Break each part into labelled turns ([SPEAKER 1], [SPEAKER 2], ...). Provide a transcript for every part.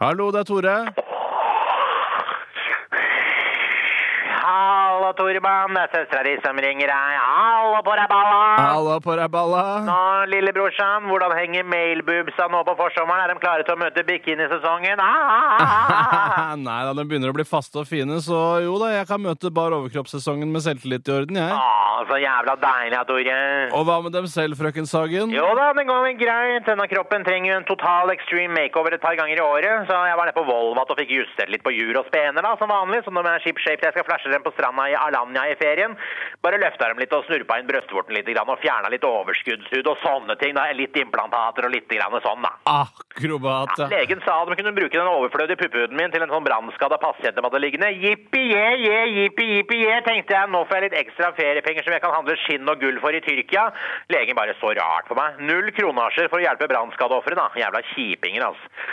[SPEAKER 1] Hallo, det er Tore.
[SPEAKER 2] Hallo, Toremann. Det er søstera di som ringer deg. Hallo på deg, balla!
[SPEAKER 1] Halla på deg, balla.
[SPEAKER 2] Nå, lillebrorsan, hvordan henger mailboobsa nå på forsommeren? Er de klare til å møte bikinisesongen? Ah, ah, ah, ah.
[SPEAKER 1] Nei da, de begynner å bli faste og fine, så jo da, jeg kan møte bar overkroppssesongen med selvtillit i orden, jeg.
[SPEAKER 2] Ah, så jævla deilig, ja, Tore.
[SPEAKER 1] Og hva med dem selv, frøken Sagen?
[SPEAKER 2] Jo da, det går vel greit. Denne kroppen trenger jo en total extreme makeover et par ganger i året. Så jeg var nede på Volvat og fikk justert litt på jur og spener, da, som vanlig. Så når jeg er shipshaped, jeg skal flashe dem på stranda i Alanya i ferien. Bare løfta dem litt og snurpa inn brøstvorten litt grann, og fjerna litt overskuddshud og sånne ting. da. Litt implantater og litt grann sånn, da.
[SPEAKER 1] Akrobat, ja.
[SPEAKER 2] Legen sa at de kunne bruke den overflødige puppehuden min til en sånn brannskada pasient de hadde liggende. Jippi-je, jippi-jippi-je, tenkte jeg. Nå får jeg litt ekstra feriepenger som jeg kan handle skinn og gull for i Tyrkia. Legen bare så rart på meg. Null kronasjer for å hjelpe brannskadeofre, da. Jævla kjipinger, altså.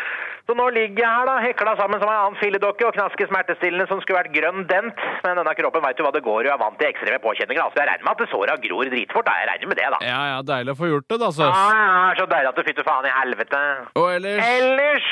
[SPEAKER 2] Så nå ligger jeg her, da, hekla sammen som en annen filledokke og knasker smertestillende som skulle vært grønn dent. Men denne kroppen veit jo hva det går i og er vant til ekstreme påkjenninger, da. Så jeg regner med at det såra gror dritfort, da. Jeg regner med det, da.
[SPEAKER 1] Ja, ja, altså. deilig å få gjort det, da,
[SPEAKER 2] Ja,
[SPEAKER 1] søs.
[SPEAKER 2] ja, ja, så deilig at du fytter faen i helvete.
[SPEAKER 1] Og ellers
[SPEAKER 2] Ellers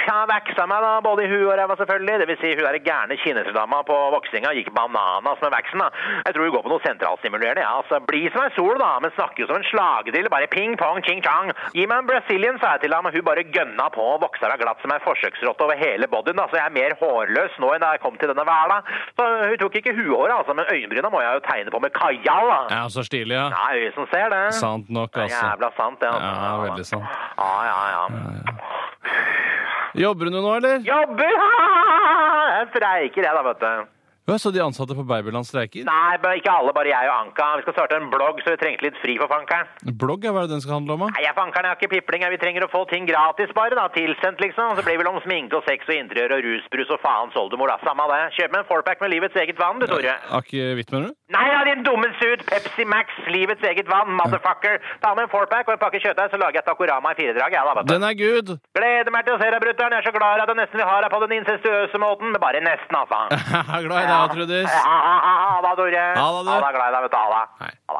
[SPEAKER 2] Jeg har veksa meg da, både i huet og ræva selvfølgelig. Det vil si, hun der gærne kineserdama på voksinga gikk bananas med veksen da. Jeg tror hun går på noe sentralstimulerende, ja. Altså, bli som ei sol da, men snakker jo som en slagedrill. Bare ping pong, ching chang. Gi meg en Brazilian, sa jeg til ham, og hun bare gønna på og voksa meg glatt som ei forsøksrotte over hele bodyen, da. Så jeg er mer hårløs nå enn da jeg kom til denne hverda. Så hun tok ikke huhåret, altså, men øyenbryna må jeg jo tegne på med kajal, da.
[SPEAKER 1] Ja, så stilig, ja.
[SPEAKER 2] Ja, øyet som ser det.
[SPEAKER 1] Sant nok,
[SPEAKER 2] Det er
[SPEAKER 1] altså.
[SPEAKER 2] Jævla sant, ja.
[SPEAKER 1] Ja, veldig sant.
[SPEAKER 2] Ja, ja, ja.
[SPEAKER 1] Jobber du nå, eller?
[SPEAKER 2] Jobber! Jeg streiker, jeg, da, vet du.
[SPEAKER 1] Ja, så de ansatte på Babyland streiker?
[SPEAKER 2] Nei, bare ikke alle, bare jeg og Anka. Vi skal starte en blogg, så vi trengte litt fri for fankeren.
[SPEAKER 1] Blogg, ja, hva er det den skal handle om, da?
[SPEAKER 2] Nei, jeg fankeren jeg har ikke pipling. jeg. Vi trenger å få ting gratis, bare, da. Tilsendt, liksom. Så blir det vel om sminke og sex og interiør og rusbrus og faens oldemor, da. Samme det. Kjøp meg en fourpack med livets eget vann, du, Tore.
[SPEAKER 1] Akevitt, mener du?
[SPEAKER 2] Nei, ja, din dumme sut! Pepsi Max, livets eget vann, motherfucker. Ta med en fourpack og en pakke kjøttdeig, så lager jeg takorama i firedrag, jeg, da, vet du.
[SPEAKER 1] Den er good!
[SPEAKER 2] Gleder meg til å se deg, brutter'n. Jeg er så glad at jeg nesten vil ha deg på den incestuøse måten. Men bare nesten, altså.
[SPEAKER 1] Jeg er glad i deg, Trudis.
[SPEAKER 2] Ha ha ha, ha da, Tore.
[SPEAKER 1] Ha det, du.
[SPEAKER 2] Ha det, glad i deg, vet du. Ha det.
[SPEAKER 1] Hei.
[SPEAKER 2] Ha det.